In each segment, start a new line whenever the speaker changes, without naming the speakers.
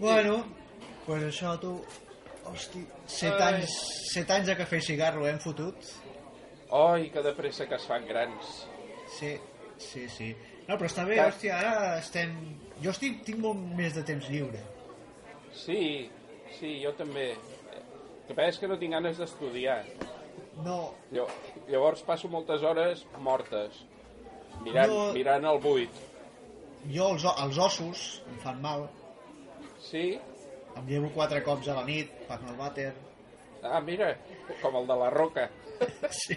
Bueno, Eh, pues això tu... Hosti, set
Ai.
anys, set anys de cafè i cigarro eh, hem fotut.
Ai, que de pressa que es fan grans.
Sí, sí, sí. No, però està bé,
Clar.
hòstia, ara estem... Jo estic, tinc molt més de temps lliure.
Sí, sí, jo també. El que passa és que no tinc ganes d'estudiar.
No,
Llav- Llavors passo moltes hores mortes, mirant,
No.
mirant el buit.
jo els, o- els ossos em fan mal.
Sí?
Em llevo quatre cops a la nit, faig el vàter.
Ah, mira, com el de la roca.
Sí.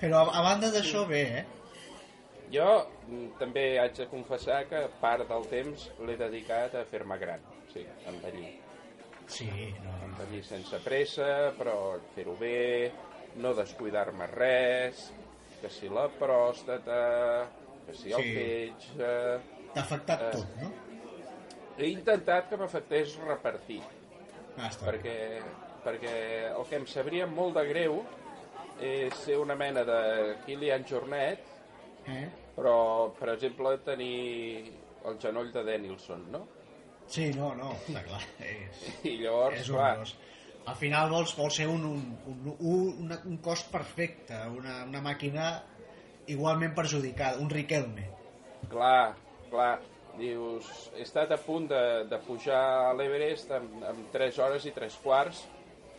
Però a, a banda d'això, bé, eh?
Jo mm, també haig de confessar que part del temps l'he dedicat a fer-me gran. Sí, envellir.
Sí, no, no.
Envellir sense pressa, però fer-ho bé, no descuidar-me res, que si la pròstata, que si el
Sí.
fetge...
T'ha afectat
Eh,
tot, no?
He intentat que m'afectés repartir,
Ah, està bé.
perquè, perquè el que em sabria molt de greu és ser una mena de Kilian Jornet,
Eh?
però, per exemple, tenir el genoll de Danielson, no?
Sí, no, no, està clar. És,
I llavors,
és
clar,
horrorós. Al final vols, vols ser un, un, un, un, una- un cos perfecte, una, una màquina igualment perjudicada, un Riquelme.
Clar, clar. Dius, he estat a punt de, de pujar a l'Everest amb, amb 3 hores i 3 quarts,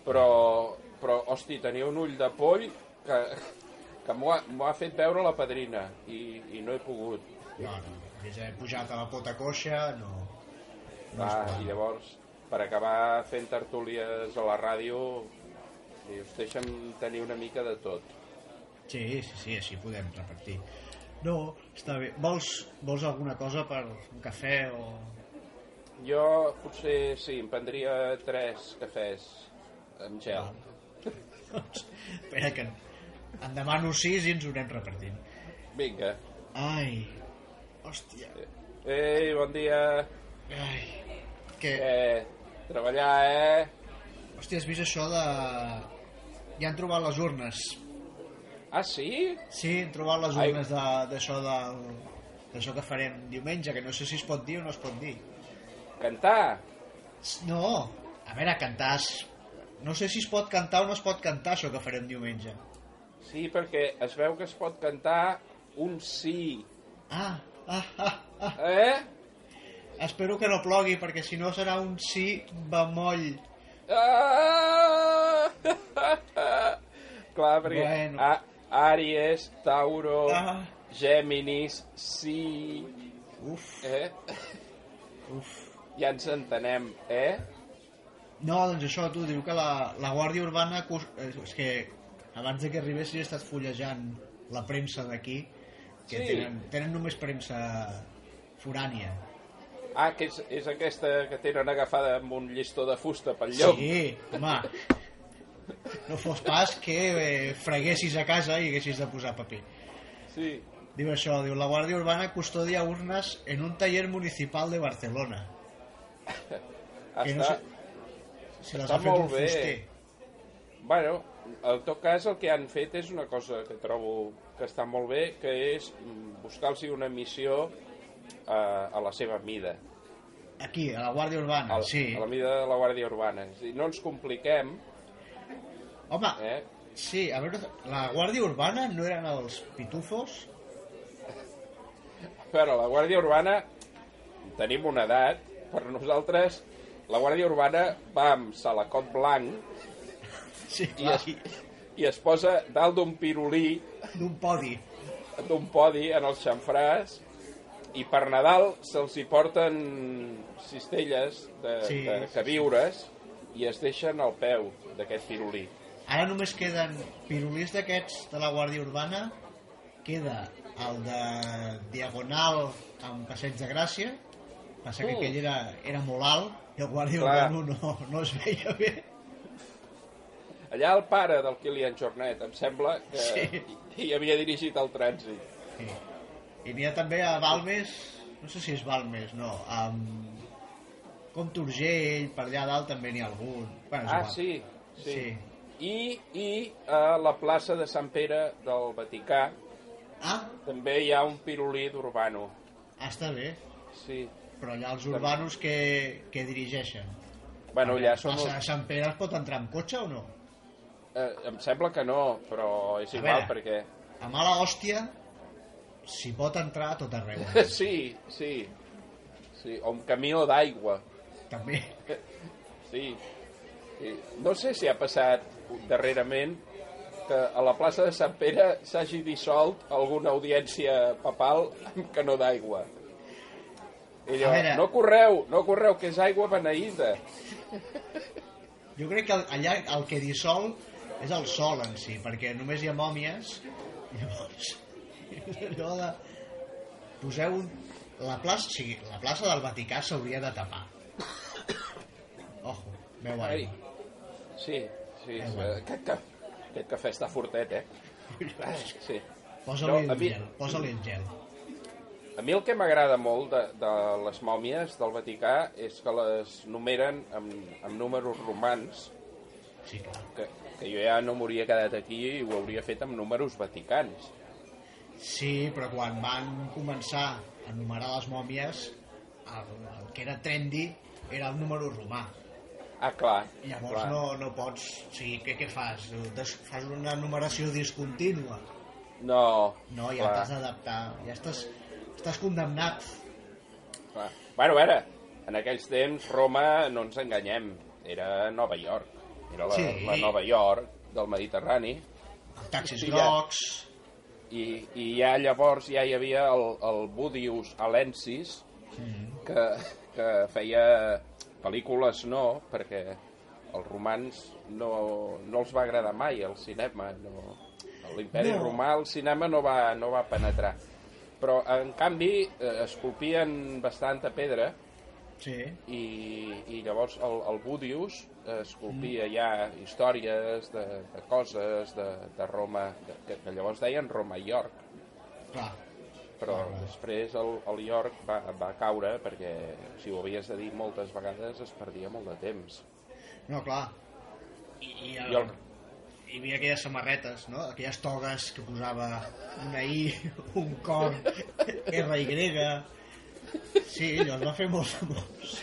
però, però hosti, tenia un ull de poll que, que m'ho ha, m'ho ha fet veure la padrina i, i no he pogut.
No, no, hagués d'haver pujat a la pota coixa, no.
Clar, I llavors, per acabar fent tertúlies a la ràdio, dius, deixa'm tenir una mica de tot.
Sí, sí, sí, així podem repartir. No, està bé. Vols, vols alguna cosa per un cafè o...
Jo potser sí, em prendria 3 cafès amb gel.
doncs, Espera que en, en demano sis i ens ho anem repartint.
Vinga.
Ai, hòstia,
Ei, bon dia.
ai. Que,
Eh, treballar, eh?
hòstia, has vist això de... Ja han trobat les urnes.
Ah, sí?
Sí, han trobat les
Ai.
urnes de- d'això del d'això que farem diumenge, que no sé si es pot dir o no es pot dir.
Cantar?
No, a veure, cantar... es- No sé si es pot cantar o no es pot cantar això que farem diumenge.
Sí, perquè es veu que es pot cantar un sí.
Ah, ah, ah, ah.
Eh?
Espero que no plogui, perquè si no serà un sí bemoll.
Ah! Clar, perquè
Bueno.
a, Àries, Tauro,
Ah.
Géminis, sí...
Uf,
Eh?
uf.
Ja ens entenem, eh?
No, doncs això, tu, diu que la, la Guàrdia Urbana... cus- eh, És que abans de que arribessin he estat fullejant la premsa d'aquí, que
Sí.
tenen, tenen només premsa forània.
Ah, que és, és aquesta que tenen agafada amb un llistó de fusta pel llop.
Sí, home. No fos pas que eh, freguessis a casa i haguessis de posar paper.
sí.
Diu això, diu, la Guàrdia Urbana custodia urnes en un taller municipal de Barcelona. Que no
Està...
sé- Se les
Està
ha fet un
molt bé.
fuster.
Bueno, en tot cas el que han fet és una cosa que trobo que està molt bé, que és mm, buscar-los una missió eh, a, a la seva mida,
Aquí, a la Guàrdia Urbana,
a, la-
sí.
a la mida de la Guàrdia Urbana. És a dir, no ens compliquem,
Home,
eh?
sí, a veure, la Guàrdia Urbana no eren els pitufos?
però la Guàrdia Urbana tenim una edat, per nosaltres la Guàrdia Urbana va amb salacot blanc
Sí,
i
clar,
es, i es posa dalt d'un pirulí
d'un podi.
d'un podi en el xamfràs i per Nadal se'ls hi porten cistelles de,
Sí,
sí, de
sí,
queviures i es deixen al peu d'aquest pirulí.
Ara només queden pirulís d'aquests de la Guàrdia Urbana, queda el de Diagonal amb Passeig de Gràcia, passa que
Uh.
aquell era, era molt alt i el Guàrdia
Clar.
Urbana no, no es veia bé.
Allà el pare del Kilian Jornet, em sembla que
Sí.
hi, hi havia dirigit el trànsit.
Sí. I n'hi ha també a Balmes, no sé si és Balmes, no, amb com Turgell, per allà dalt també n'hi ha algun. Bueno, és
Ah,
igual.
sí, sí.
Sí.
I, I a la plaça de Sant Pere del Vaticà
Ah,
també hi ha un pirulí d'Urbano.
ah, està bé.
Sí.
Però allà els urbanos que, que dirigeixen.
Bueno, Doncs- allà
A
som...
Sa- a Sant Pere es pot entrar amb cotxe o no?
Eh, em sembla que no, però és
A
igual
veure.
perquè...
A mala hòstia s'hi pot entrar a tot arreu.
Sí, sí. Sí, o un camió d'aigua.
també.
Sí. sí. No sé si ha passat darrerament que a la plaça de Sant Pere s'hagi dissolt alguna audiència papal amb canó d'aigua.
A
I Allò,
veure.
no correu, no correu, que és aigua beneïda.
Jo crec que el- allà el que dissol és el sol en si, perquè només hi ha mòmies. Llavors, és allò de... Poseu un... La plaça, sí, la plaça del Vaticà s'hauria de tapar. Ojo, veu
Ai,
aigua.
sí, sí.
Eh,
sí.
bueno.
Aquest, ca... aquest cafè està fortet, eh? Ai, Sí.
Posa-li
No, a
el
mi-
gel, posa-li el gel.
A mi el que m'agrada molt de, de les mòmies del Vaticà és que les numeren amb, amb números romans,
Sí, clar.
que, que jo ja no m'hauria quedat aquí i ho hauria fet amb números vaticans.
Sí, però quan van començar a numerar les mòmies, el, el que era trendy era el número romà.
Ah, clar.
Llavors
clar.
no, no pots... O sigui, què, què fas? Des, fas una numeració discontínua.
No,
No, ja
clar,
t'has d'adaptar. Ja estàs, estàs condemnat.
clar. Bueno, a veure, en aquells temps Roma, no ens enganyem, era Nova York. Era la,
Sí.
la Nova York del Mediterrani.
Amb taxis
Sí, ja.
grocs...
i, i ja llavors ja hi havia el, el Budius Alensis que, que feia pel·lícules no perquè els romans no, no els va agradar mai el cinema no, a l'imperi
No.
no. romà el cinema no va, no va penetrar però en canvi eh, esculpien bastanta pedra
Sí.
i, i llavors el, el Budius esculpia mm. ja històries de, de coses de, de Roma, de, que, que llavors deien Roma-York,
Clar.
però
Clar.
després el, el York va, va caure perquè si ho havies de dir moltes vegades es perdia molt de temps.
No, clar. I, i, el,
I el-
hi havia aquelles samarretes, no? Aquelles togues que posava una I, un cor, R i Sí, allò es va fer molt famós.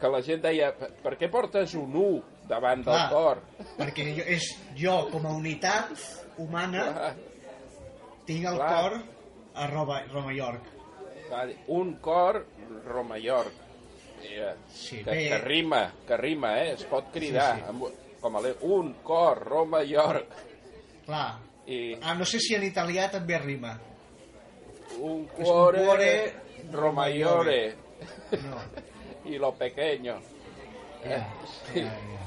Que la gent deia, "Per- per què portes un 1 davant del cor?
perquè jo, és jo, com a unitat humana,
Ah,
tinc el
clar.
cor a Roma, Roma York.
va dir, Un cor Roma-York. Mira,
Sí,
que,
bé.
que rima, que rima, eh? Es pot cridar.
Sí, sí.
Amb, com a l'E- un cor Roma-York.
Clar.
I
Ah, no sé si en italià també rima.
un
un
cuore,
cuore
romaiore
No.
i lo pequeño.
Ja, ja, ja.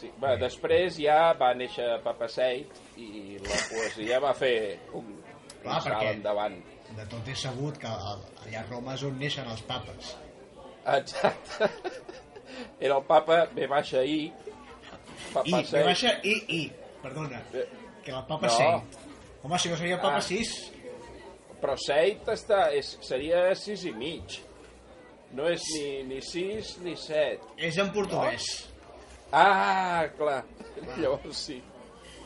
Sí. Va, després ja va néixer Papa Seid i la poesia va fer un,
Clar,
un salt
perquè-
endavant.
De tot és sabut que a- allà a Roma és on neixen els papes.
Exacte. Era el Papa B baixa I,
I,
Papa I,
I,
Seid.
baixa, I, I, perdona,
Eh,
que la papa
no.
6. Home, si no seria papa
Ah.
6,
Però Seid està, és, seria sis i mig. No és ni, ni sis ni set.
és en portuguès.
Ah, clar. Llavors sí.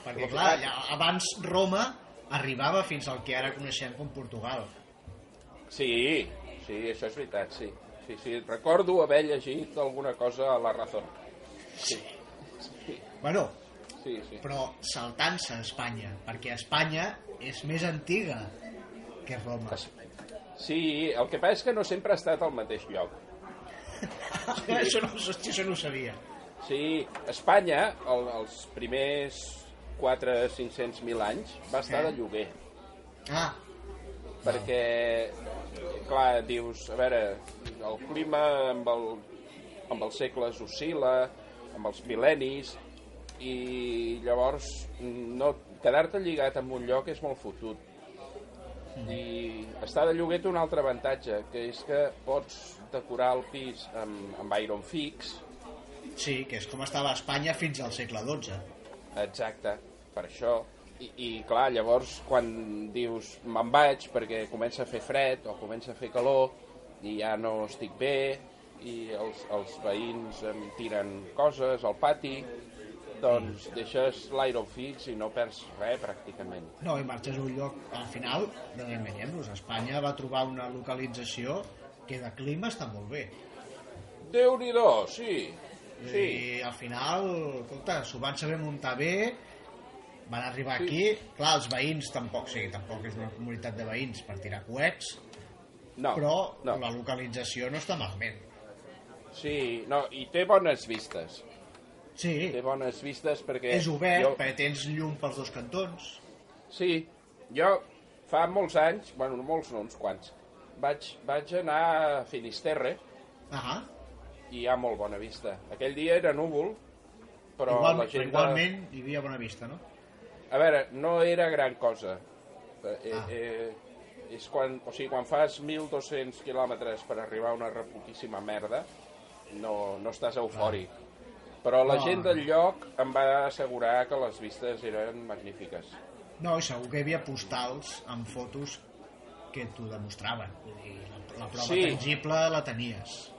Perquè, clar, ja, abans Roma arribava fins al que ara coneixem com Portugal.
Sí, sí, això és veritat, sí. Sí, sí, recordo haver llegit alguna cosa a la Razón. Sí, sí,
Bueno,
sí. sí.
però saltant-se a Espanya, perquè Espanya és més antiga que Roma.
Sí, el que passa és que no sempre ha estat al mateix lloc.
això, no, hòstia, això no ho sabia.
Sí, Espanya, el, els primers 4-500.000 anys, va estar de lloguer.
Ah,
Perquè, clar, dius, a veure, el clima amb, el, amb els segles oscil·la, amb els mil·lennis, i llavors no, quedar-te lligat en un lloc és molt fotut i estar de lloguer té un altre avantatge que és que pots decorar el pis amb, amb Iron Fix
Sí, que és com estava Espanya fins al segle XII.
Exacte, per això. I, i clar, llavors quan dius me'n vaig perquè comença a fer fred o comença a fer calor i ja no estic bé i els, els veïns em tiren coses al pati doncs deixes l'Iron Fix i no perds res pràcticament
No, i marxes a un lloc... Al final, no ens enganyem-nos, Espanya va trobar una localització que de clima està molt bé.
déu nhi sí, sí.
I al final, escolta, s'ho van saber muntar bé, van arribar aquí... Clar, els veïns tampoc, sí, tampoc és una comunitat de veïns per tirar coets,
No,
però
no.
la localització no està malament.
Sí, no, i té bones vistes.
Sí,
Té bones vistes perquè...
és obert,
jo-
perquè tens llum pels dos cantons.
Sí, jo fa molts anys, bueno, no molts no, uns quants, vaig, vaig anar a Finisterre
Ahà.
i hi ha molt bona vista. Aquell dia era núvol, però
Igual,
la gent... de-
igualment hi havia bona vista, no?
A veure, no era gran cosa. Eh,
Ah.
eh, és quan, o sigui, quan fas 1.200 quilòmetres per arribar a una reputíssima merda, no, no estàs eufòric. Però la
No.
gent del lloc em va assegurar que les vistes eren magnífiques.
No, i segur que hi havia postals amb fotos que t'ho demostraven. Vull dir, la, la prova
Sí.
sí. tangible la tenies.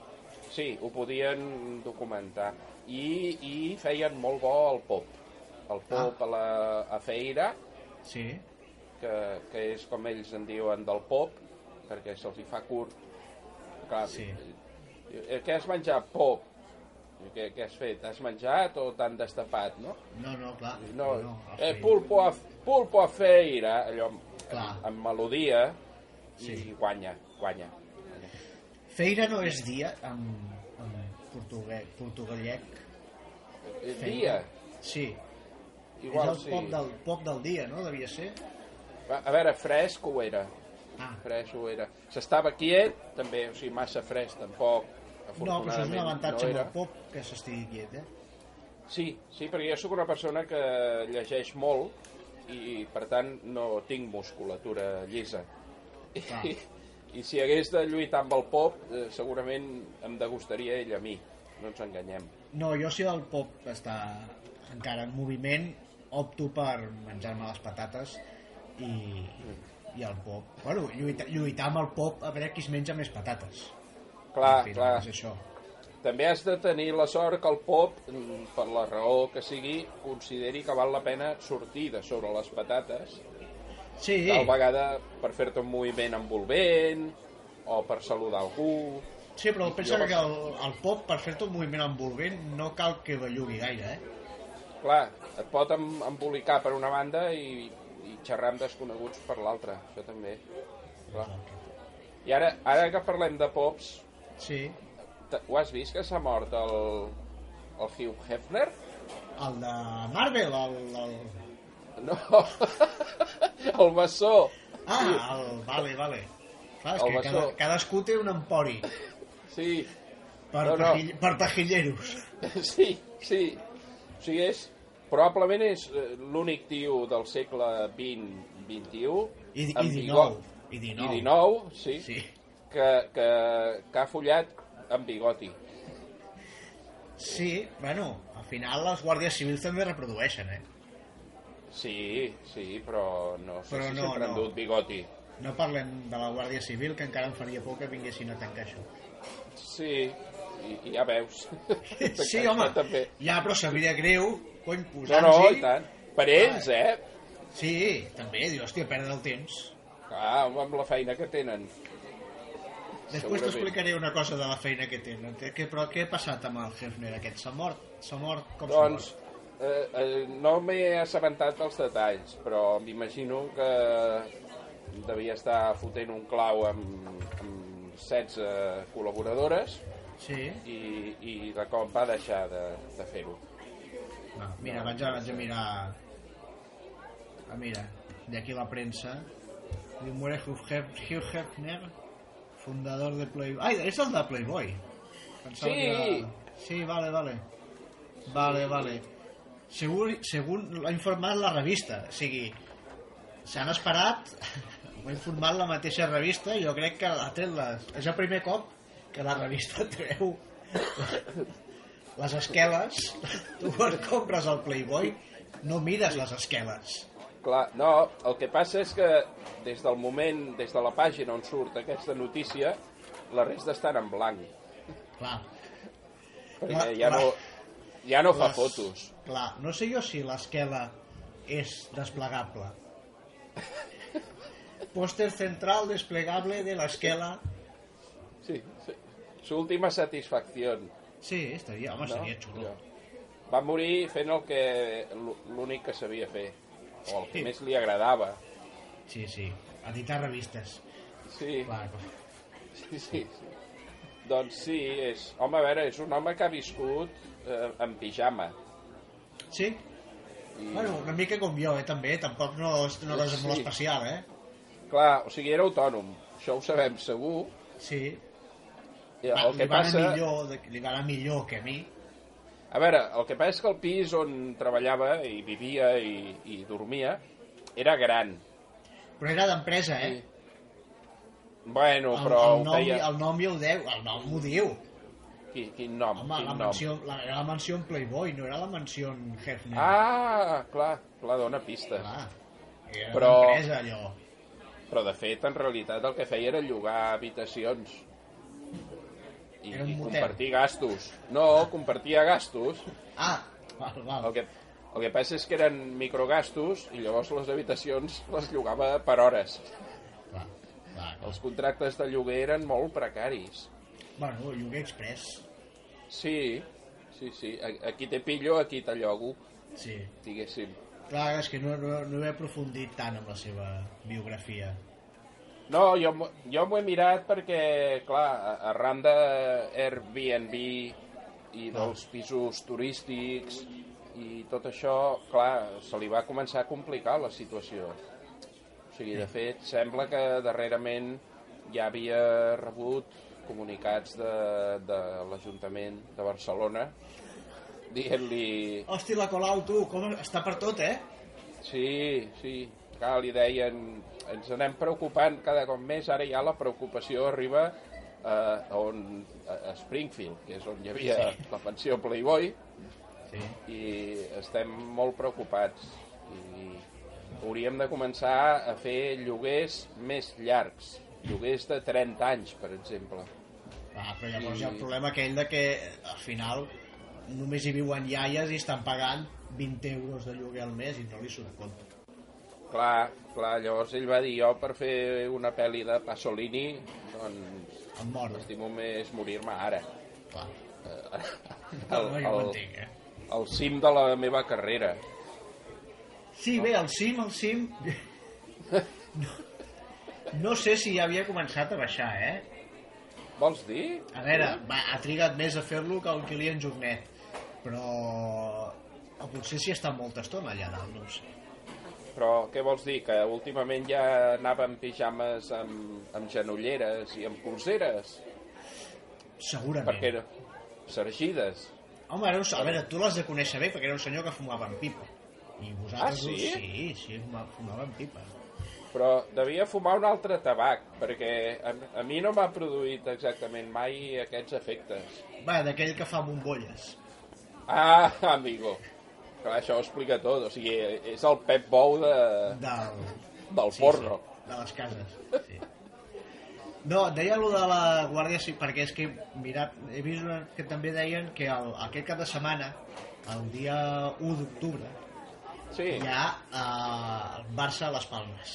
Sí, ho podien documentar. I, i feien molt bo el pop. El
Ah.
pop a la a Feira,
Sí,
que, que és com ells en diuen del pop, perquè se'ls hi fa curt. Clar,
Sí.
eh, Què has menjat? Pop. Diu, Què, què has fet? Has menjat o t'han destapat, no?
no, no, clar.
No, no
al
eh,
Feira.
pulpo, a, pulpo a feira, allò amb,
Clar.
amb, amb melodia, sí.
Sí.
i guanya, guanya.
Feira no és dia en, en portuguès, portugallec.
Eh,
Feira.
Dia,
Sí, és
igual,
el
sí.
pop, del, pop del dia, no? Devia ser.
Va, A veure, fresc ho era.
Ah,
Fresc ho era. S'estava quiet, també, o sigui, massa fresc tampoc.
no, però això és un
afortunadament,
avantatge amb
era.
el pop que s'estigui quiet, eh?
Sí, sí, perquè jo sóc una persona que llegeix molt i, per tant, no tinc musculatura llisa.
Clar.
I, I si hagués de lluitar amb el pop, eh, segurament em degustaria ell a mi. No ens enganyem.
No, jo si el pop està encara en moviment, opto per menjar-me les patates i, i el pop. Bueno, lluitar, lluitar amb el pop a veure qui es menja més patates.
Clar,
Al final,
clar.
És això.
També has de tenir la sort que el pop, mm, per la raó que sigui, consideri que val la pena sortir de sobre les patates
Sí,
tal vegada per fer-te un moviment envolvent o per saludar algú.
sí però pensa
Jo
que el, el pop, per fer-te un moviment envolvent, no cal que bellugui gaire, eh?
Clar, et pot em- embolicar per una banda i, i xerrar amb desconeguts per l'altra, això també. Clar. I ara, ara que parlem de pops,
Sí,
t- ho has vist que s'ha mort el, el Hugh Hefner?
el de Marvel, el... el...
No, el bessó.
Ah, el... Vale, vale. Clar, és
El
que cada,
bastó.
cadascú té un empori
Sí,
per,
No, no.
tajill, per tajilleros.
sí, sí. O sigui, és, probablement és eh, l'únic tio del segle XX, XXI...
I, i
amb
19.
bigot-
I
I
19.
19, sí,
Sí,
Que, que, que ha follat amb bigoti.
sí, bueno, al final les guàrdies civils també reprodueixen, eh?
Sí, sí, però no sé
Però
si
no,
sempre han
no.
dut bigoti.
No parlem de la Guàrdia Civil, que encara em faria por que vinguessin a tancar això.
Sí, i, i ja veus.
Sí,
Això
home,
També.
ja, però sabria greu, cony,
No, no,
posant-s'hi...
i tant. Per ells, eh?
Sí, també, diu, hòstia, perdre el temps.
Ah, home, amb la feina que tenen.
Després
Segurament.
t'explicaré una cosa de la feina que tenen. Que, que, però què ha passat amb el Hefner aquest? S'ha mort? S'ha mort? Com s'ha
Doncs,
mort?
eh, eh, no m'he assabentat dels detalls, però m'imagino que devia estar fotent un clau amb, amb 16 col·laboradores
Sí?
i, i de cop va deixar de, de fer-ho.
No, mira, vaig a, vaig a mirar... A mirar, d'aquí la premsa. Diu, muere Hugh Hef- Hugh Hefner, fundador de Playboy. Ai, és el de Playboy. Pensava
Sí.
Que era... Sí, vale, vale. Vale, vale. segur, segur l'ha informat la revista o sigui, s'han esperat ho ha informat la mateixa revista i jo crec que ha tret les... és el primer cop que la revista treu les esqueles tu quan compres el Playboy no mires les esqueles
Clar, no, el que passa és que des del moment, des de la pàgina on surt aquesta notícia, la resta estan en blanc.
clar,
Perquè
La-
ja,
la-
no, ja no fa
les-
fotos.
clar, no sé jo si l'esquela és desplegable pòster central desplegable de l'esquela
Sí, sí. Su última satisfacció.
sí, estaria, home,
No?
seria xulo
Allò. Va morir fent el que l'únic que sabia fer, o el que
Sí.
més li agradava.
sí, sí, editar revistes
Sí,
clar, clar.
sí, sí. sí. Doncs sí, és... Home, a veure, és un home que ha viscut eh, en pijama.
Sí. Bueno, una mica com jo, eh, també. Tampoc no, és- no res
Sí.
molt especial, eh?
Clar, o sigui, era autònom, això ho sabem segur.
Sí.
I
Va,
El
li,
que
va
passa...
anar millor, de- li va anar millor que a mi.
A veure, el que passa és que el pis on treballava i vivia i, i dormia era gran.
Però era d'empresa, eh?
Bueno,
El,
però
el,
ho
nom,
feia...
el nom i el deu. El nom ho diu.
Quin, quin nom?
Home,
quin
la
nom?
mansió, la, era la mansió en Playboy, no era la mansió en Hefner.
Ah, clar, clar, dona pistes.
Clar. Era
Però-
però... d'empresa, allò.
Però de fet, en realitat, el que feia era llogar habitacions i,
Era un
i
motel.
compartir gastos. No, compartia gastos.
Ah, val, val.
El que, el que passa és que eren microgastos i llavors les habitacions les llogava per hores.
Clar, clar, clar.
Els contractes de lloguer eren molt precaris.
Bueno, lloguer express.
Sí, sí, sí. A- Aquí te pillo, aquí te llogo,
Sí.
diguéssim.
Clar, és que no, no, no he aprofundit tant amb la seva biografia.
No, jo, m'ho- jo m'ho he mirat perquè, clar, a- arran de Airbnb i dels pisos turístics i tot això, clar, se li va començar a complicar la situació. O sigui, de fet, sembla que darrerament ja havia rebut comunicats de, de l'Ajuntament de Barcelona dient-li
Hosti, la Colau, tu, com està per tot, eh?
Sí, sí, clar, li deien ens anem preocupant cada cop més, ara ja la preocupació arriba eh, on, a Springfield, que és on hi havia la pensió Playboy,
Sí.
i estem molt preocupats. I hauríem de començar a fer lloguers més llargs, lloguers de 30 anys, per exemple.
Ah, però llavors hi ha el problema aquell de que eh, al final només hi viuen iaies i estan pagant 20 euros de lloguer al mes i no li surt a compte.
Clar, clar, llavors ell va dir jo per fer una pel·li de Pasolini, doncs
Em moro.
estimo més morir-me ara.
Clar. No,
El,
no, jo ho
el,
entenc, eh?
el cim de la meva carrera.
Sí, bé, el cim, el cim... No, no sé si ja havia començat a baixar, eh?
Vols dir?
A veure, va, ha trigat més a fer-lo que el Kilian Jornet, però o potser s'hi està molta estona allà dalt, no ho sé.
Però què vols dir? Que últimament ja anava amb pijames amb, amb genolleres i amb colzeres?
Segurament.
Perquè era sergides.
Home, era un... a veure, tu l'has de conèixer bé perquè era un senyor que fumava en pipa. I vosaltres...
Ah, sí?
Sí, sí, fuma- fumava en pipa.
Però devia fumar un altre tabac, perquè a, a mi no m'ha produït exactament mai aquests efectes.
Va, d'aquell que fa bombolles.
Ah, amigo. Clar, això ho explica tot. O sigui, és el Pep Bou de,
Del...
del porno.
Sí, de les cases. Sí. No, deia allò de la Guàrdia Civil, perquè és que he mirat, he vist una, que també deien que el, aquest cap de setmana, el dia 1 d'octubre,
Sí.
hi ha eh, el Barça a les Palmes.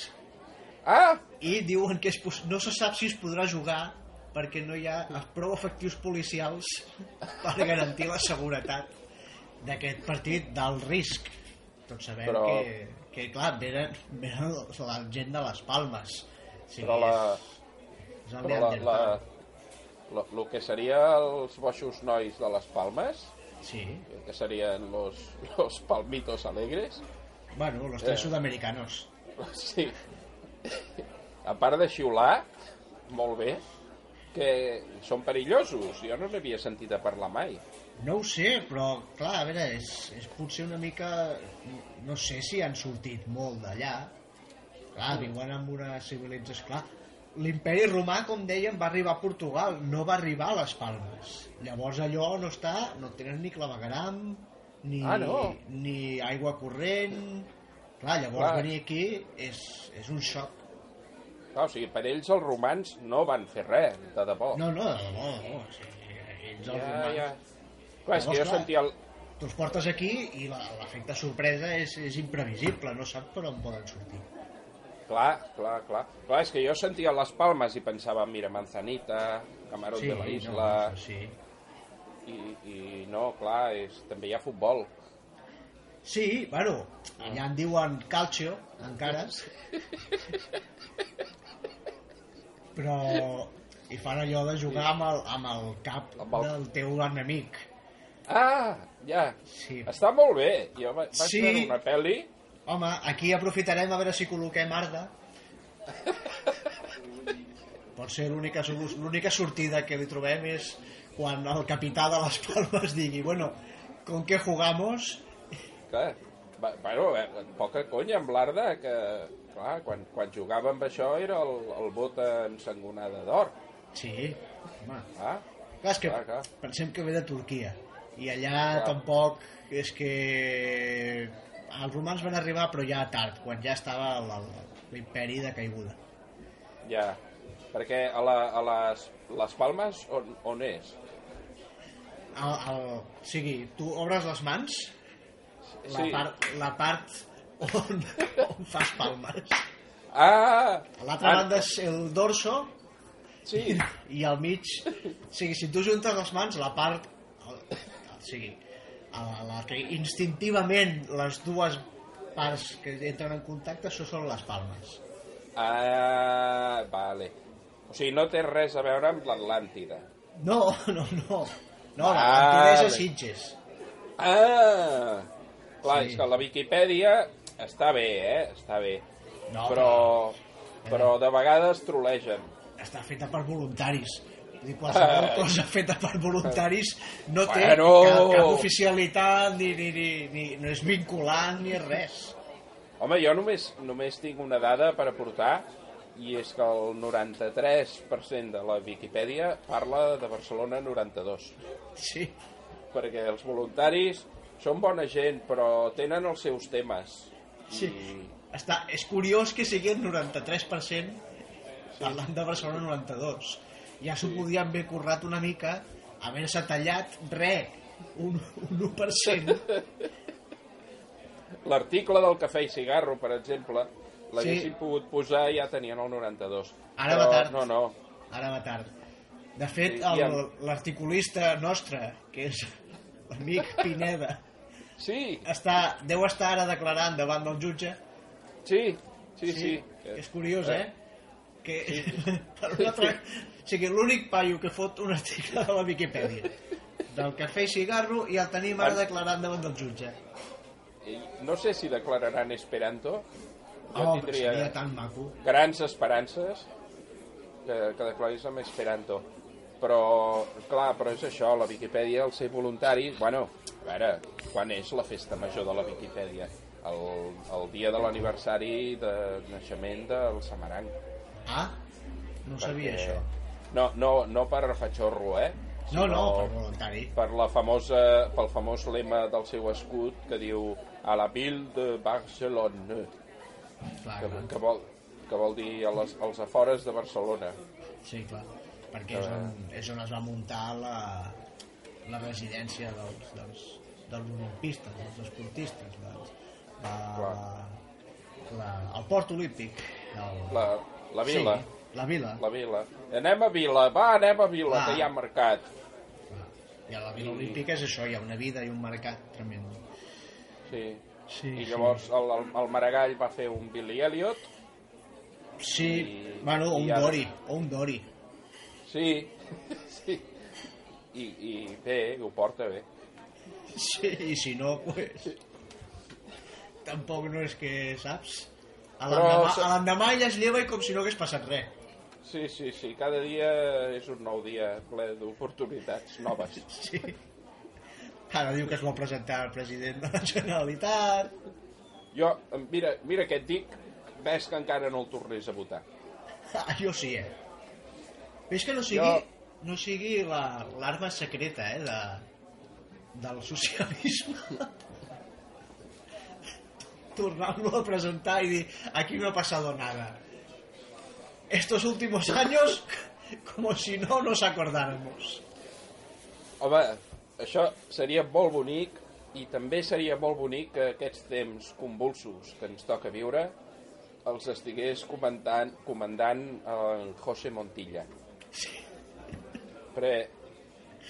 Ah,
i diuen que és, pos- no se sap si es podrà jugar perquè no hi ha prou efectius policials per garantir la seguretat d'aquest partit d'alt risc. Tots sabem
Però-
que, que, clar, venen, venen la gent de les Palmes. Sí,
però la,
és, és el
Però la, la,
Neandertal. eh?
la, lo que seria els boixos nois de les Palmes,
Sí.
que serien los, los palmitos alegres,
Bueno, los
Eh.
tres sud-americanos.
sí. A part de xiular, molt bé, que són perillosos. Jo no n'havia sentit a parlar mai.
No ho sé, però clar, a veure, és, és potser una mica... No sé si han sortit molt d'allà. Clar, viuen amb una civilització... Clar, l'imperi romà, com dèiem, va arribar a Portugal, no va arribar a les Palmes. Llavors allò no està... No tenen ni clavegaram, ni,
Ah, no.
ni aigua corrent... Clar, llavors
Clar.
venir aquí és, és un xoc.
Clar, Ah, o sigui, per ells els romans no van fer res, de debò.
No, no, de debò, de debò. o sigui, Ells els
ja,
romans...
ja. Clar, és que jo
Llavors, clar.
sentia el...
Tu els portes aquí i la- l'efecte sorpresa és, és imprevisible, no saps per on poden sortir.
Clar, clar, clar. Clar, és que jo sentia les palmes i pensava, mira, Manzanita, Camarón de la Isla...
No, sí.
I, I no, clar, és, també hi ha futbol.
sí, bueno, allà en diuen calcio, encara. Però i fan allò de jugar amb el, amb el cap
Amb el-
del teu enemic.
Ah, ja.
Sí.
Està molt bé. Jo va- vaig
Sí.
veure una pel·li...
Home, aquí aprofitarem a veure si col·loquem Arda. Pot ser l'única solu- l'única sortida que li trobem és quan el capità de les Palmes digui bueno, con què jugamos?
Clar, va, bueno, eh, poca conya amb l'Arda, que clar, quan, quan jugava amb això era el, el bota ensangonada d'or.
Sí, home.
Clar,
Clar, és que
Clar, clar.
pensem que ve de Turquia i allà tampoc és que els romans van arribar però ja tard, quan ja estava el- el- l'imperi de caiguda.
ja. Perquè a, la, a les, les Palmes on, on és?
El, el, Ah, o sigui, tu obres les mans la,
Sí.
part, la part on, on fas palmes.
Ah!
A l'altra
ah,
banda és el dorso
Sí,
i al mig... O sigui, si tu juntes les mans, la part... El, o sigui, a la, la que instintivament les dues parts que entren en contacte això són les palmes.
Ah, vale. O sigui, no té res a veure amb l'Atlàntida.
No, no, no. No, la
Ah,
ah, és a
bé.
Sitges.
Ah! Clar,
Sí.
és que la Viquipèdia està bé, eh? Està bé.
No,
però, però de vegades trolegen.
Està feta per voluntaris. Vull dir, qualsevol
Ah.
cosa feta per voluntaris no té
Bueno.
cap, cap oficialitat, ni, ni, ni, ni, no és vinculant, ni és res.
Home, jo només, només tinc una dada per aportar i és que el 93% de la Viquipèdia parla de Barcelona 92
Sí,
perquè els voluntaris són bona gent però tenen els seus temes
sí.
Mm.
Està, és curiós que sigui el 93% parlant de Barcelona 92. Ja s'ho podien haver currat una mica, haver-se tallat re, un, un 1%.
L'article del cafè i cigarro, per exemple,
Sí.
l'haguessin sí. pogut posar i ja tenien el 92.
Ara va tard.
No, no.
Ara va tard. De fet,
Sí, i
el-
amb-
l'articulista nostre, que és l'amic Pineda,
Sí,
està, deu estar ara declarant davant del jutge.
sí, sí, sí.
És curiós, eh? Que, per una altra... O sigui, l'únic paio que fot un article de la Viquipèdia del cafè i cigarro i el tenim
Ah.
ara declarant davant del jutge.
Eh, No sé si declararan Esperanto. Jo
Oh, però seria
tindria eh?
tan maco.
grans esperances que, que declaris amb Esperanto. Però, clar, però és això, la Viquipèdia, el ser voluntari... Bueno, a veure, quan és la festa major de la Viquipèdia? El, el dia de l'aniversari de naixement del Samaranc.
Ah, no ho sabia,
perquè-
això.
No, no, no per fatxorro, eh?
No, no,
Sinó
per voluntari.
per la famosa, pel famós lema del seu escut que diu a la ville de Barcelona,
Clar,
que,
clar.
que, vol, que vol dir a les, als afores de Barcelona.
Sí, clar. Perquè és on,
eh,
és on es va muntar la, la residència dels, dels, dels olimpistes, dels esportistes, dels, la,
Clar.
la, el port olímpic. El,
La, la vila, sí.
Sí, la vila.
la vila. Anem a vila, va, anem a vila,
Va.
que hi ha mercat.
Clar. I a la Vila Olímpica és això, hi ha una vida i un mercat tremendo.
Sí.
Sí,
I
sí.
llavors el, el, el Maragall va fer un Billy Elliot,
Sí, I,
I-
bueno, o
i
un
ara-
dori, o un dori.
sí, sí. I, i bé, ho porta bé.
Sí, i si no, pues... Tampoc no és que, saps? A
Però
l'endemà
se-
a l'endemà ella es lleva i com si no hagués passat res.
Sí, sí, sí, cada dia és un nou dia ple d'oportunitats noves.
Sí. Ara diu que es vol presentar al president de la Generalitat.
Jo, em- mira, mira què et dic, ves que encara no el tornés a votar.
Ah, jo sí, eh? Ves que no sigui,
Jo-
no sigui la- l'arma secreta, eh, de, del socialisme. Tornar-lo a presentar i dir, aquí no ha pasado nada. Estos últimos años, como si no nos acordáramos.
Home, això seria molt bonic i també seria molt bonic que aquests temps convulsos que ens toca viure els estigués comentant, comandant el José Montilla. Sí. Però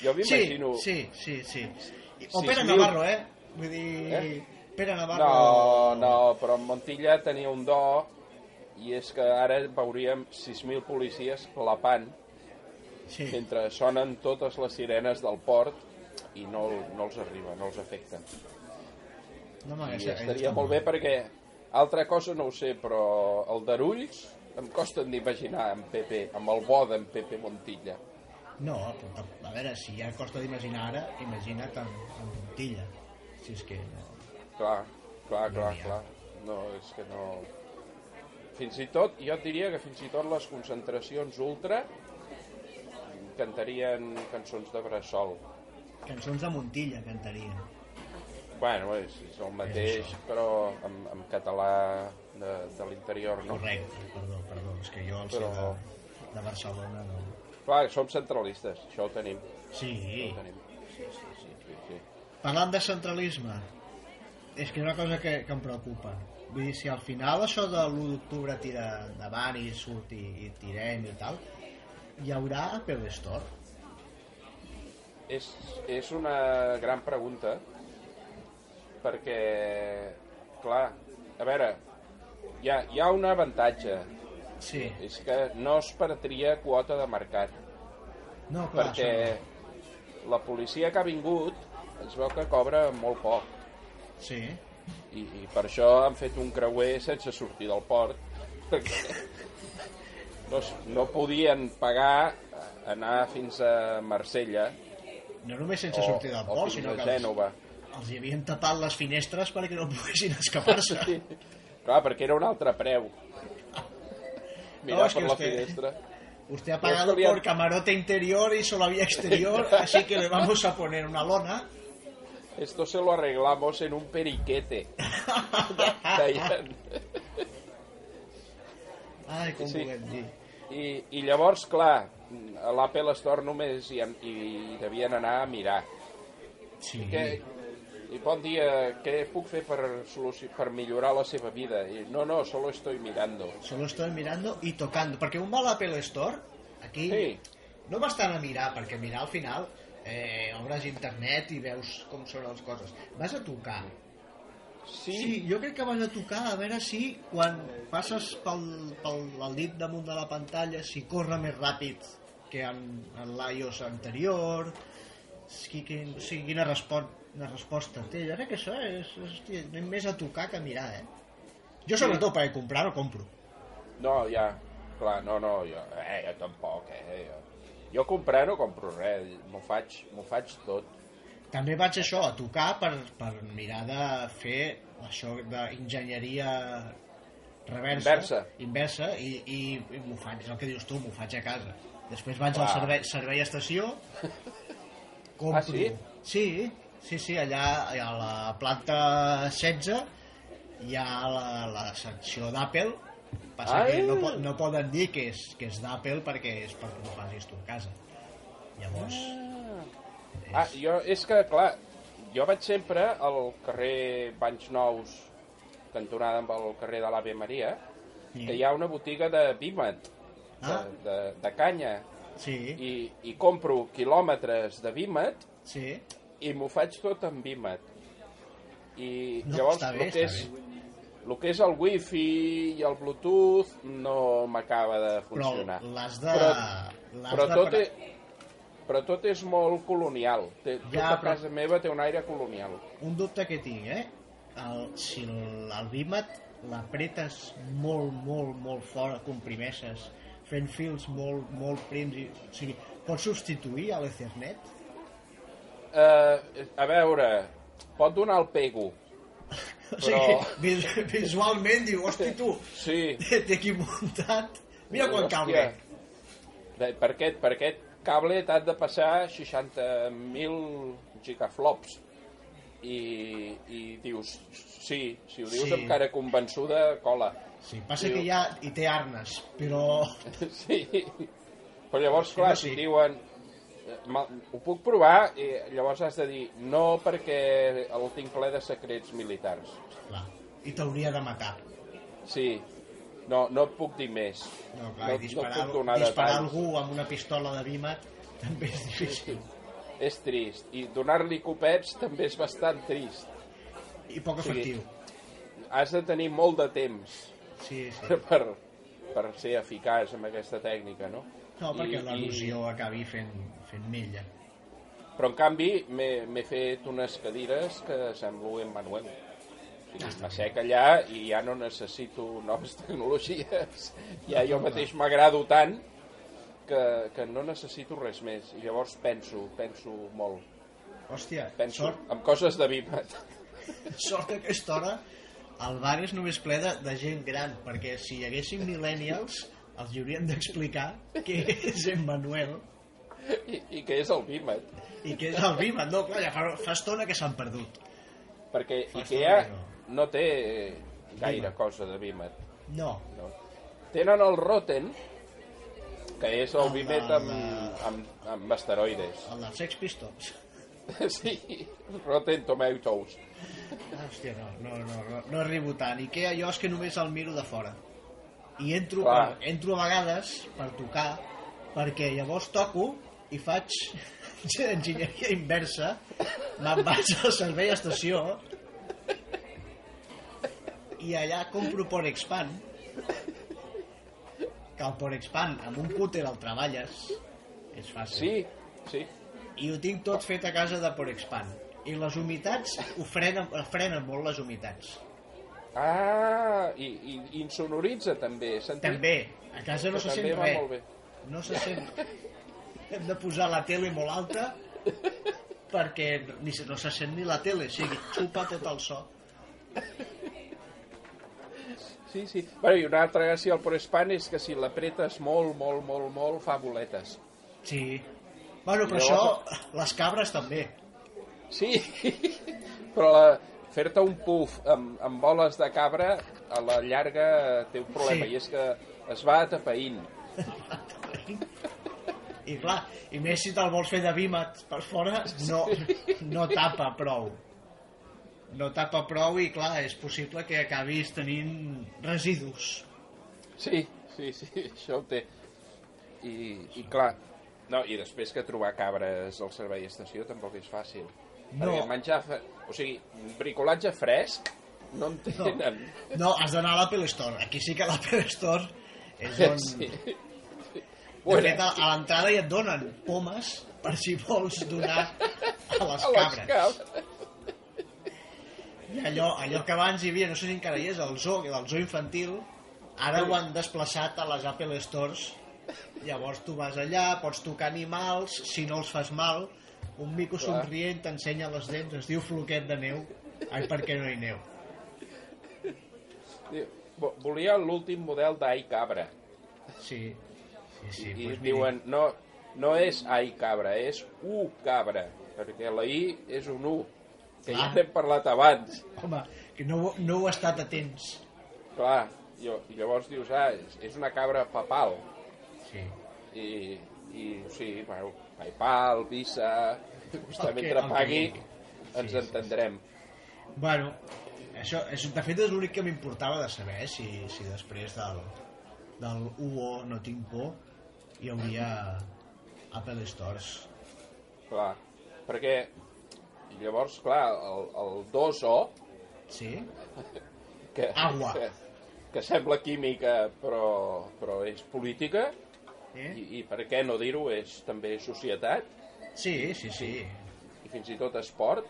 jo
Sí,
m'imagino...
sí, sí, sí. I- O
Sí,
Pere
sí.
Navarro, eh? Vull dir...
Eh?
Pere Navarro...
No, no, però en Montilla tenia un do i és que ara veuríem 6.000 policies clapant
Sí.
mentre sonen totes les sirenes del port i no, no els arriba, no els afecta.
No m'hagués
I estaria molt bé perquè altra cosa no ho sé, però el d'Arulls em costa d'imaginar amb Pepe, amb el bo d'en Pepe Montilla.
No, però, tam- a veure, si ja costa d'imaginar ara, imagina't amb, amb Montilla. Si és que no...
Clar, clar, clar, clar. No, és que no... Fins i tot, jo et diria que fins i tot les concentracions ultra cantarien cançons de bressol.
Cançons de Montilla cantarien.
Bueno, és, és el mateix, però en, en català de, de l'interior, no?
Correcte, eh, perdó, perdó, és que jo el però...
Però-
de, de Barcelona no...
Clar, som centralistes, això ho tenim.
Sí,
Ho tenim. Sí, sí, sí, sí, sí.
parlant de centralisme, és que és una cosa que, que em preocupa. Vull dir, si al final això de l'1 d'octubre tira davant i surt i, i tirem i tal, hi haurà Apple Store?
És, és una gran pregunta perquè, clar, a veure, hi ha, hi ha un avantatge,
Sí.
és que no es perdria quota de mercat,
No, clar,
perquè la policia que ha vingut es veu que cobra molt poc,
això no. Sí.
i, i per això han fet un creuer sense sortir del port, perquè no, es- no podien pagar eh, anar fins a Marsella
No només sense
o,
sortir del
o
port,
fins
sinó
a
que... les-
oh, Gènova.
els hi havien tapat les finestres perquè no poguessin escapar-se.
Sí. Clar, perquè era un altre preu. Mirar
No,
no,
és
per
que
la
usted-
finestra.
Usted ha pagado
Pero esto
por camarote interior y solo había exterior, así que le vamos a poner una lona.
Esto se lo arreglamos en un periquete. Deien.
Ai, com
Sí.
sí. volem dir.
I, I llavors, clar, a l'Apple Store només hi, han- hi devien anar a mirar.
Sí.
Què, I bon dia, què puc fer per, soluci- per millorar la seva vida? I, no, no, solo estoy mirando.
Solo estoy mirando y tocando, perquè un va a l'Apple Store, aquí,
Sí.
no vas tant a mirar, perquè mirar al final eh, obres internet i veus com són les coses. Vas a tocar.
Sí,
Sí, jo crec que vas a tocar a veure si quan passes pel, pel el dit damunt de la pantalla si corre més ràpid que en, en l'iOS anterior si, que, o sigui, quina respon, una resposta té jo crec que això és, és hòstia, anem més a tocar que a mirar eh? jo sobretot per comprar no compro
No, ja, clar, no, no, jo, eh, jo tampoc, eh, jo. Jo comprar no compro res, m'ho faig, m'ho faig tot.
també vaig això a tocar per, per mirar de fer això d'enginyeria reversa,
Inversa.
inversa i, i, i m'ho faig, és el que dius tu, m'ho faig a casa després vaig
Clar.
al servei, servei a estació compro
Ah, sí?
sí, sí, sí, allà a la planta 16 hi ha la, la secció d'Apple passa
Ai!
que no, po no poden dir que és, que és d'Apple perquè és perquè ho facis tu a casa llavors
Ah, jo, és que, clar, jo vaig sempre al carrer Banys Nous, cantonada amb el carrer de l'Ave Maria,
Sí.
que hi ha una botiga de vímet, de,
Ah.
de, de canya,
sí,
i, i compro quilòmetres de vímet
sí
i m'ho faig tot amb vímet. I
No,
llavors
està bé,
el
està
que és el que és el wifi i el bluetooth no m'acaba de
però
funcionar.
l'has de...
Però,
l'has
però,
de
tot
pre-
és, però tot és molt colonial. Té,
Ja,
tota
però-
casa meva té un aire colonial.
Un dubte que tinc, eh? El, si el, el vímet l'apretes molt, molt, molt fort, comprimeixes, fent fils molt, molt prims, i, o sigui, pots substituir a l'Ethernet?
eh, a veure, pot donar el pego.
O sigui, vis visualment diu, hosti tu,
Sí,
t'he aquí muntat. Mira quan cau
Hòstia. De- Per aquest, per aquest cable t'has de passar 60.000 gigaflops. I, I dius, sí, si ho dius
Sí.
sí. amb cara convençuda, cola.
Sí, passa que ja hi té arnes, però...
Sí. Però llavors, clar,
Sí.
si diuen, eh, "Me- ho puc provar, i llavors has de dir, no perquè el tinc ple de secrets militars.
Clar, i t'hauria de matar.
Sí, no, no et puc dir més.
No, clar, no,
et
disparar,
puc
no
donar
disparar
detalls.
algú amb una pistola de bima també és difícil.
És trist. I donar-li copets també és bastant trist.
I poc efectiu.
Has de tenir molt de temps
Sí, sí.
per, per ser eficaç amb aquesta tècnica, no?
No, perquè
I-
l'al·lusió acabi fent, fent mella.
I, però, en canvi, m'he m'he fet unes cadires que semblo en Manuel. O sigui, M'assec allà i ja no necessito noves tecnologies. Ja jo mateix m'agrado tant que, que no necessito res més. I llavors penso, penso molt.
Hòstia,
Penso
sort,
en coses de Bimat.
sort que a aquesta hora el bar és només ple de, de gent gran, perquè si hi haguessin millennials els hi haurien d'explicar què és en Manuel
I, i que és el Bimat.
i què és el Viva. No, clar, ja fa, fa estona que s'han perdut.
Perquè
Fast
IKEA
Food,
no té gaire
Bimat.
cosa de Bimat.
No,
No? Tenen el Rotten, que és el
El
Bimet
de-
amb, amb, amb asteroides.
el dels Sex Pistols.
Sí, Rotten Tomatoes.
Hòstia, no, no, no, no, no arribo tant. I què, jo és que només el miro de fora. I entro,
Clar.
bueno, entro a vegades per tocar, perquè llavors toco i faig enginyeria inversa, me'n vaig al servei a estació i allà compro Porexpan que el Porexpan amb un cúter el treballes és fàcil
Sí, sí.
i ho tinc tot fet a casa de Porexpan i les humitats ho frenen, frenen molt les humitats
Ah, i, i i insonoritza també, he sentit.
també, a casa no
Que
se sent
també va molt bé.
res no se sent hem de posar la tele molt alta perquè ni, se- no se sent ni la tele o sigui, xupa tot el so
Sí, sí. Bueno, I una altra gràcia al Porespan és que si l'apretes molt, molt, molt, molt, fa boletes.
sí bueno, però
Llavors-
això, les cabres també
Sí, però la, fer-te un puff amb, amb boles de cabra a la llarga té un problema,
Sí.
sí. i és que es va atapeint.
i clar, i més si te'l vols fer de vímet per fora, no, no tapa prou no tapa prou i clar, és possible que acabis tenint residus
Sí, sí, sí, això ho té. I, i clar, no, i després que trobar cabres al servei estació tampoc és fàcil.
No.
Perquè menjar... Fe... O sigui, bricolatge fresc no en tenen.
No, has d'anar a l'Apple Store. Aquí sí que l'Apple Store és on...
Sí.
Sí. De
Bueno,
fet, a a l'entrada ja et donen pomes per si vols donar a les
a les
cabres.
cabres.
I allò, allò que abans hi havia, no sé si encara hi és, el zoo, el zoo infantil, ara ho han desplaçat a les Apple Stores. Llavors tu vas allà, pots tocar animals, si no els fas mal, un mico somrient t'ensenya les dents, es diu floquet de neu. Ai, per què no hi neu?
Diu, "Vo- Volia l'últim model d'ai cabra.
Sí, sí, sí.
I
doncs mira,
diuen, no, no és ai cabra, és u cabra, perquè la i és un u, que ja
Ah.
n'hem parlat abans.
Home, que no, ho- no heu estat atents.
Clar, i ll- i llavors dius, ah, és, és una cabra papal.
Sí.
I, i sí, bueno, PayPal, Visa,
El
justament
que- el
mentre
que
pagui
vulgui.
ens
sí, sí.
entendrem.
Bueno, això, és, de fet és l'únic que m'importava de saber eh, si, si després del, del UO no tinc por hi hauria Apple Stores.
Clar, perquè i llavors, clar, el, el 2O,
Sí?
que,
Agua.
que, que sembla química però, però és política,
Eh?
I, i per què no dir-ho, és també societat
Sí, sí, sí.
i fins i tot esport.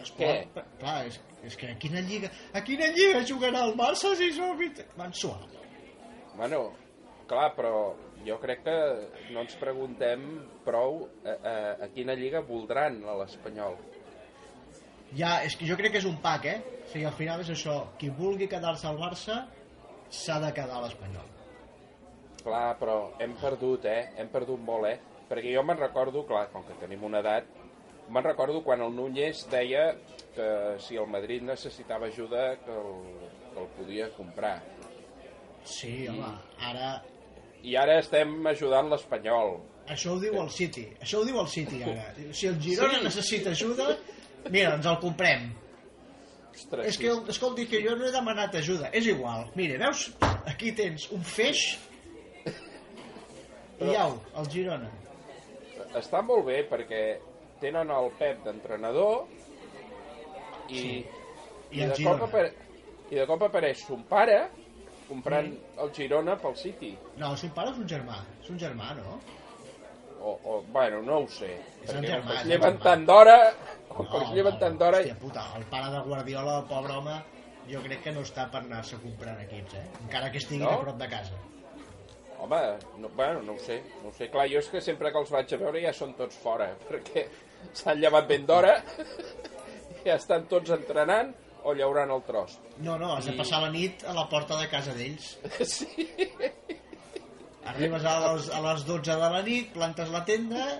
Es
Què?
pot, clar, és, és que a quina lliga, a quina lliga jugarà el Barça si són... Van suar.
Bueno, clar, però jo crec que no ens preguntem prou a, a, a quina lliga voldran a l'Espanyol.
Ja, és que jo crec que és un pack, eh? O sigui, al final és això, qui vulgui quedar-se al Barça s'ha de quedar a l'Espanyol.
Clar, però hem perdut, eh? Hem perdut molt, eh? Perquè jo me'n recordo, clar, com que tenim una edat, me'n recordo quan el Núñez deia que si el Madrid necessitava ajuda que el, que el podia comprar.
Sí, home, ara...
I ara estem ajudant l'Espanyol.
Això ho diu el City, això ho diu el City ara. Si el Girona sí. necessita ajuda, mira, ens el comprem.
Ostres,
És que, el- escolti, que jo no he demanat ajuda, és igual. Mira, veus? Aquí tens un feix i au, el Girona.
està molt bé perquè tenen el Pep d'entrenador i, sí.
I
i,
el
de
Girona.
cop apare... i de cop apareix son pare comprant mm. el Girona pel City
No, el seu pare és un germà, és un germà, no?
o, o bueno, no ho sé
És el
perquè
germà,
com
és
que es
el
lleven
germà.
tant d'hora com que
no,
es lleven tant d'hora
Oh, Hòstia puta, el pare de Guardiola, el pobre home, jo crec que no està per anar-se comprant equips, eh? Encara que estigui
No?
no? a prop de casa.
home, no, bueno, no ho sé no ho sé, clar, jo és que sempre que els vaig a veure ja són tots fora perquè s'han llevat ben d'hora ja estan tots entrenant o llaurant el tros
No, no, has de passar la nit a la porta de casa d'ells.
sí,
Arribes a les, a les 12 de la nit, plantes la tenda...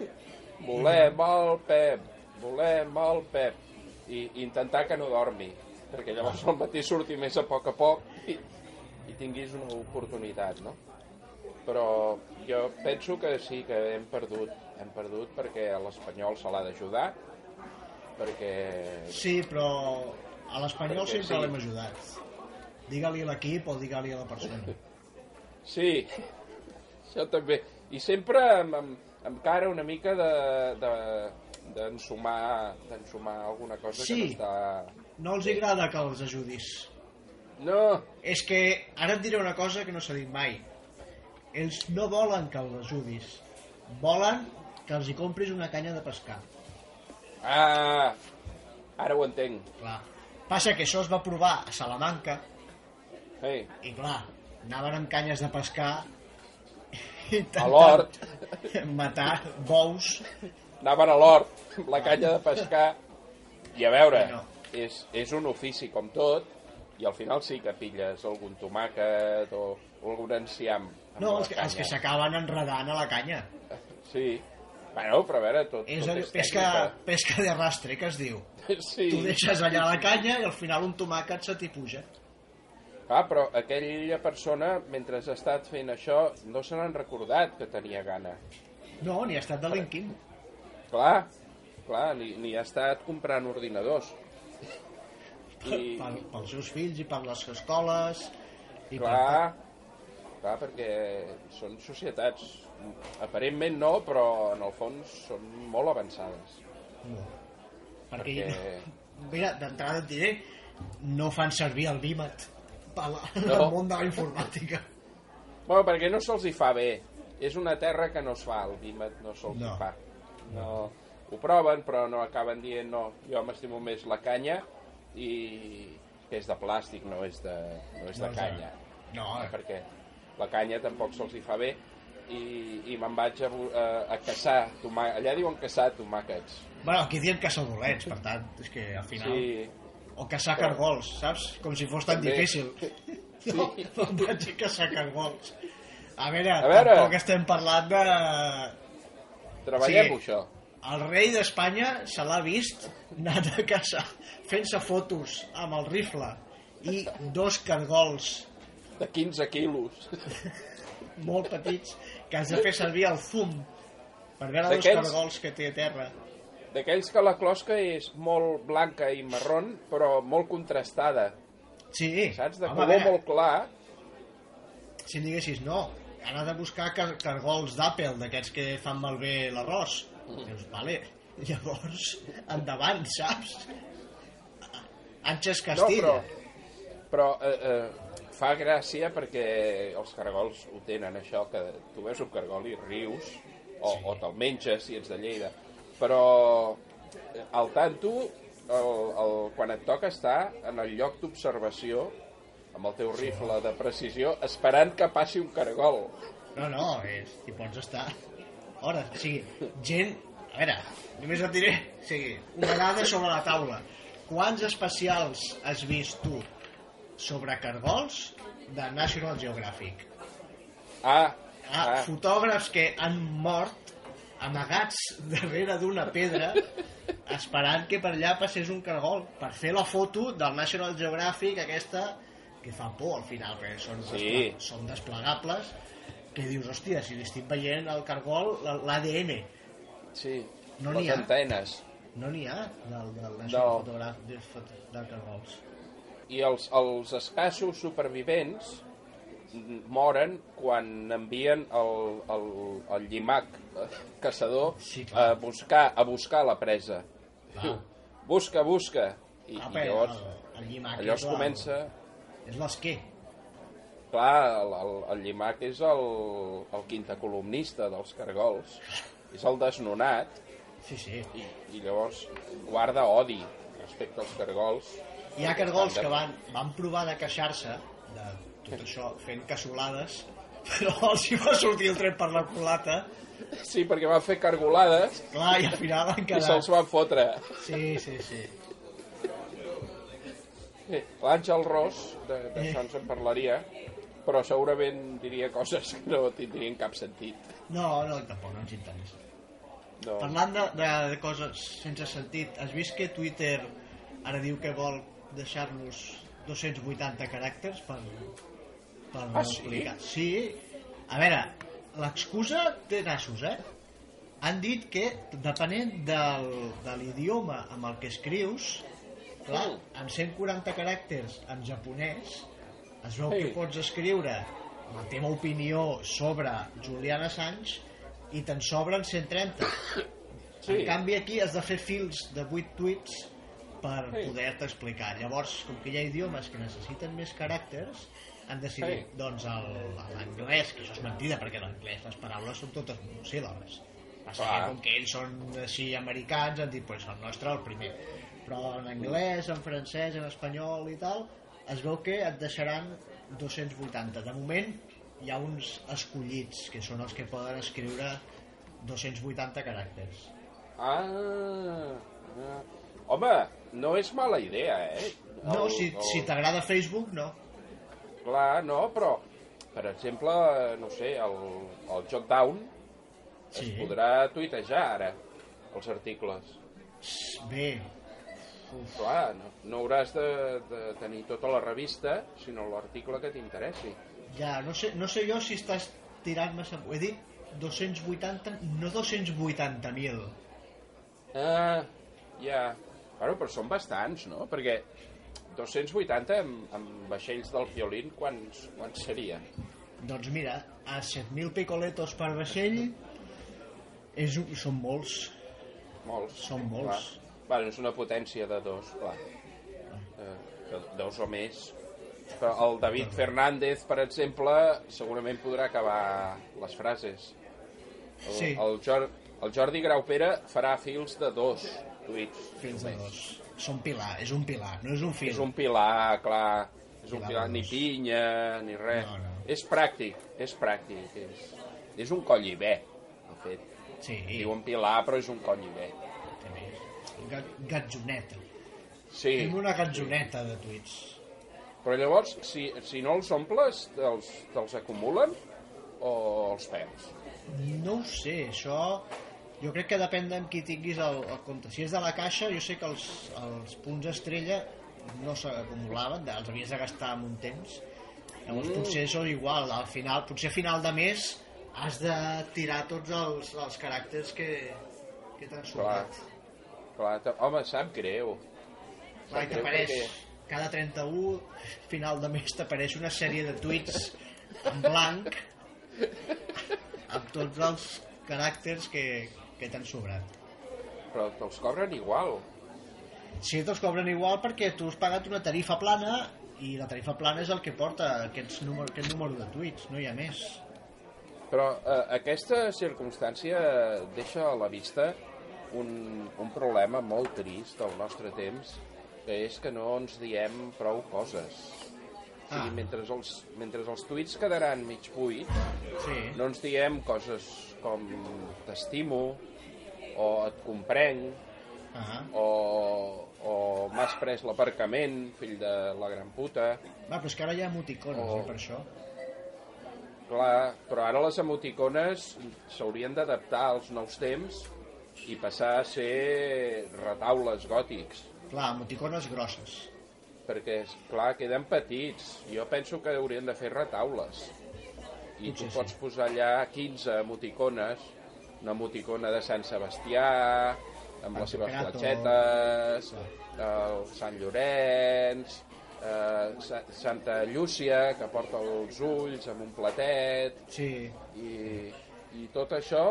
Volem el Pep, volem el Pep. I i intentar que no dormi, perquè llavors al matí surti més a poc a poc i, i tinguis una oportunitat, no? Però jo penso que sí, que hem perdut, hem perdut perquè a l'Espanyol se l'ha d'ajudar, perquè...
Sí, però a l'Espanyol
Perquè
sempre
sí.
l'hem ajudat. Digue-li a l'equip o digue-li a la persona.
Sí, això també. I sempre amb, amb, amb cara una mica de... de d'ensumar d'ensumar alguna cosa que no
Sí.
està...
No els agrada que els ajudis.
No,
És que ara et diré una cosa que no s'ha dit mai. Ells no volen que els ajudis. Volen que els hi compris una canya de pescar.
Ah, ara ho entenc.
Clar. Passa que això es va provar a Salamanca
Hey,
i clar, anaven amb canyes de pescar i
a l'hort,
matar bous.
anaven a l'hort, amb la canya de pescar. I a veure,
No.
és, és un ofici com tot, i al final sí que pilles algun tomàquet o, o algun enciam. amb
No,
la
els que, els
canya.
que s'acaben enredant a la canya.
Sí, bueno, però a veure, tot,
És
tot
allò,
és
pesca,
tècnica.
pesca de rastre, que es diu.
Sí.
Tu deixes allà la canya i al final un tomàquet se t'hi puja.
Ah, però aquella persona, mentre ha estat fent això, no se n'han recordat que tenia gana.
No, ni ha estat delinquint.
Clar, clar, ni, ni ha estat comprant ordinadors. I,
per, pels seus fills i per les escoles i per...
clar, clar, perquè són societats, aparentment no, però en el fons són molt avançades.
No. Perquè,
Perquè-
mira, d'entrada et diré no fan servir el BIMAT pel
No.
no. món de la informàtica
Bueno, perquè no se'ls hi fa bé. És una terra que no es fa, el vímet no se'ls
No.
hi fa. No. Ho proven, però no acaben dient no, jo m'estimo més la canya i que és de plàstic, no és de, no és de
No,
canya.
no,
Ah,
no,
perquè la canya tampoc se'ls hi fa bé i, i me'n vaig a, bu- a, a caçar tomà... allà diuen caçar tomàquets
bueno, aquí diem caçar dolents per tant, és que al final sí.
sí,
o caçar cargols, saps? com si fos tan
També.
difícil no, me'n vaig a caçar cargols a veure, a
veure.
veure, tampoc estem parlant de...
treballem-ho
Sí.
això
El rei d'Espanya se l'ha vist anant a casa fent-se fotos amb el rifle i dos cargols
de 15 quilos
molt petits que has de fer servir el fum per veure dos
D'aquests?
cargols que té a terra.
d'aquells que la closca és molt blanca i marron però molt contrastada
Sí,
saps? de
home, a
color
veure,
molt clar
si em diguessis no, ara de buscar car cargols d'Apple, d'aquests que fan malbé l'arròs.
Mm.
Dius, vale, llavors, endavant, saps? Anxes Castilla.
No, però, però eh, eh, fa gràcia perquè els cargols ho tenen, això, que tu veus un cargol i rius, o, sí. o te'l menges si ets de Lleida, però eh, al tanto, el, el, quan et toca estar en el lloc d'observació, amb el teu rifle de precisió, esperant que passi un cargol.
No, no, és, hi pots estar hores. O sigui, gent... A veure, només et diré... O sigui, una dada sobre la taula. Quants especials has vist tu sobre cargols de National Geographic?
Ah,
a
ah,
fotògrafs que han mort amagats darrere d'una pedra esperant que per allà passés un cargol per fer la foto del National Geographic aquesta que fa por al final perquè són,
Sí.
desplega- són desplegables que dius, hòstia, si li estic veient el cargol, l- l'ADN
sí.
No n'hi
les
ha.
antenes.
no n'hi ha del, del National
No.
Photograph de, fot- de cargols
I els, els escassos supervivents mm, moren quan envien el, el, el llimac eh, caçador
Sí, clar.
a, buscar, a buscar la presa.
Clar.
Busca, busca. I,
Ah,
i
però
llavors,
el, el llimac
llavors
és el-
comença...
és l'esquer
Clar, el, el, el Llimac és el, el quinta columnista dels cargols. És el desnonat
sí, sí.
i, i llavors guarda odi respecte als cargols.
Hi ha cargols que van, van provar de queixar-se de tot això fent cassolades, però els hi va sortir el tren per la culata,
Sí, perquè van fer cargolades
clar, i al final van
i
quedar...
se'ls van fotre.
Sí, sí, sí.
Bé, L'Àngel Ros, de- d'això ens en parlaria, però segurament diria coses que no tindrien cap sentit.
No, no, tampoc no ens interessa.
No.
Parlant de, de, de coses sense sentit, has vist que Twitter ara diu que vol deixar-nos 280 caràcters per, per
Ah, sí?
explicar? Sí. A veure, l'excusa té nassos, eh? Han dit que, depenent del, de l'idioma amb el que escrius, clar,
Oh.
amb 140 caràcters en japonès, es veu
Sí.
que pots escriure la teva opinió sobre Julian Assange i te'n sobren 130. Sí. En canvi, aquí has de fer fils de 8 tuits per
Sí.
poder-te explicar. Llavors, com que hi ha idiomes que necessiten més caràcters, han decidit,
Sí.
doncs, el- l'anglès, que això és mentida, perquè en anglès les paraules són totes monosíl·labes. Passa que,
Clar.
com que ells són així americans, han dit, pues, el nostre el primer. Però en anglès, en francès, en espanyol i tal, es veu que et deixaran 280. De moment, hi ha uns escollits, que són els que poden escriure 280 caràcters.
Ah, ah. Home, no és mala idea, eh?
No,
El-
si,
el-
si t'agrada Facebook, no.
Clar, no, però, per exemple, no ho sé, el, el joc down sí. es
Sí.
podrà tuitejar ara, els articles.
Bé,
Clar, ah, no, no hauràs de, de tenir tota la revista, sinó l'article que t'interessi.
ja, no sé, no sé jo si estàs tirant massa... Ho he dit 280, no 280.000.
Ah, ja. Bueno, però són bastants, no? Perquè 280 amb, amb vaixells del violín, quants, quants serien?
Doncs mira, a 7.000 picoletos per vaixell és, un- són molts.
Molts.
Són molts.
Clar. Bueno, és una potència de dos, clar. Eh, de dos o més. Però el David Fernández, per exemple, segurament podrà acabar les frases. El,
Sí.
El, Jor el Jordi Graupera farà fils de dos tuits.
Fins a dos. Són pilar, és un pilar, no és un fil.
És un pilar, clar. És un
Pilar
pilar,
de
ni
dos.
pinya, ni res.
No, no.
És pràctic, és pràctic. És, és un coll i bé, de fet.
Sí,
Diuen pilar, però és un coll i bé.
també. Ga- Gatzoneta.
Sí.
Tinc una gatzoneta de tuits.
Però llavors, si, si no els omples, te'ls, te'ls acumulen o els perds?
No ho sé, això... Jo crec que depèn de qui tinguis el, el compte. Si és de la caixa, jo sé que els, els punts estrella no s'acumulaven, de- els havies de gastar amb un temps. Llavors potser són igual, al final, potser a final de mes has de tirar tots els, els caràcters que, que t'han sobrat.
Clar, te- home, sap greu.
Clar, i
Sap greu
t'apareix
perquè-
cada 31, final de mes t'apareix una sèrie de tuits en blanc amb tots els caràcters que, que t'han sobrat.
Però te'ls cobren igual.
Sí, te'ls cobren igual perquè tu has pagat una tarifa plana i la tarifa plana és el que porta aquests número, aquest número de tuits, no hi ha més.
Però eh, aquesta circumstància deixa a la vista un, un problema molt trist del nostre temps, que és que no ens diem prou coses. Ah. I mentre els, mentre els tuits quedaran mig buits,
Sí.
no ens diem coses com t'estimo, o et comprenc,
Ah.
o, o m'has pres l'aparcament, fill de la gran puta.
Va, però és que ara hi ha emoticones,
Oh.
oh. eh, per això.
Clar, però ara les emoticones s'haurien d'adaptar als nous temps i passar a ser retaules gòtics.
Clar, emoticones grosses.
perquè, és clar, queden petits. Jo penso que haurien de fer retaules. I tu
Potser sí.
pots posar allà 15 emoticones, una emoticona de Sant Sebastià, amb les seves
Pantocrator.
fletxetes, el Sant Llorenç, eh, Sa- Santa Llúcia, que porta els ulls amb un platet,
Sí.
i, i tot això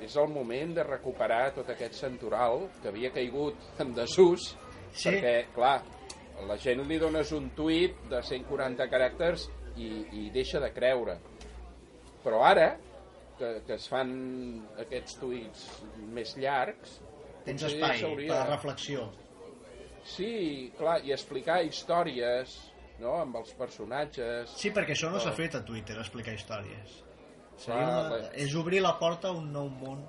és el moment de recuperar tot aquest santoral que havia caigut en desús
Sí.
perquè, clar, la gent li dones un tuit de 140 caràcters i, i deixa de creure però ara que, que es fan aquests tuits més llargs
Tens
potser
espai
s'hauria-
per a la reflexió.
sí, clar, i explicar històries no, amb els personatges
Sí, perquè això no s'ha fet a Twitter, explicar històries. Seria
Clar,
una...
la-
És obrir la porta a un nou món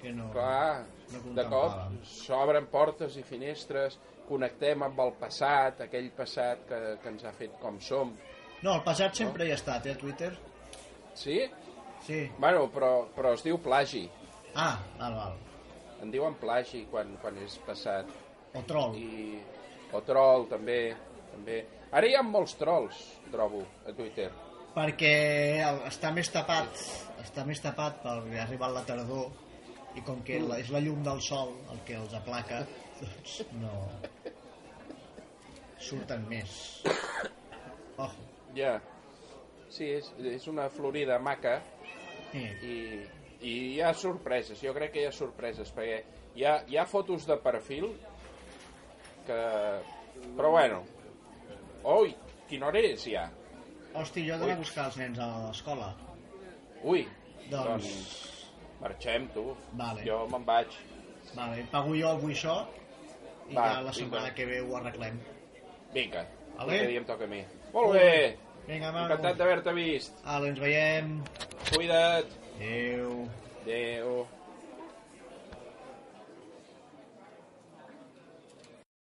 que no...
Clar,
No
de cop
contemplàvem.
s'obren portes i finestres, connectem amb el passat, aquell passat que, que ens ha fet com som.
No, el passat sempre hi ha estat, eh, a Twitter.
Sí?
Sí.
Bueno, però, però es diu plagi.
Ah, val, val.
En diuen plagi quan, quan és passat.
O troll.
I, o troll, també. també. Ara hi ha molts trolls, trobo, a Twitter.
Perquè el- està més tapat, està més tapat perquè ha arribat la tardor i com que
Mm.
la, és la llum del sol el que els aplaca, doncs no... Surten més. Ojo.
Ja. Sí, és, és una florida maca,
Sí.
i, i hi ha sorpreses, jo crec que hi ha sorpreses, perquè hi ha, hi ha fotos de perfil que... Però bueno, ui, quina hora és ja?
Hosti, jo he d'anar a buscar els nens a l'escola.
Ui,
Doncs,
marxem, tu.
Vale.
Jo me'n vaig.
vale, pago jo avui això i
Va,
ja la setmana
vinga.
que ve ho arreglem.
Vinga,
Vale.
aquest dia em toca a mi. Molt bé,
Vinga,
encantat
Manu.
d'haver-te vist.
Ale, ens veiem.
Cuida't.
Adéu.
Adéu.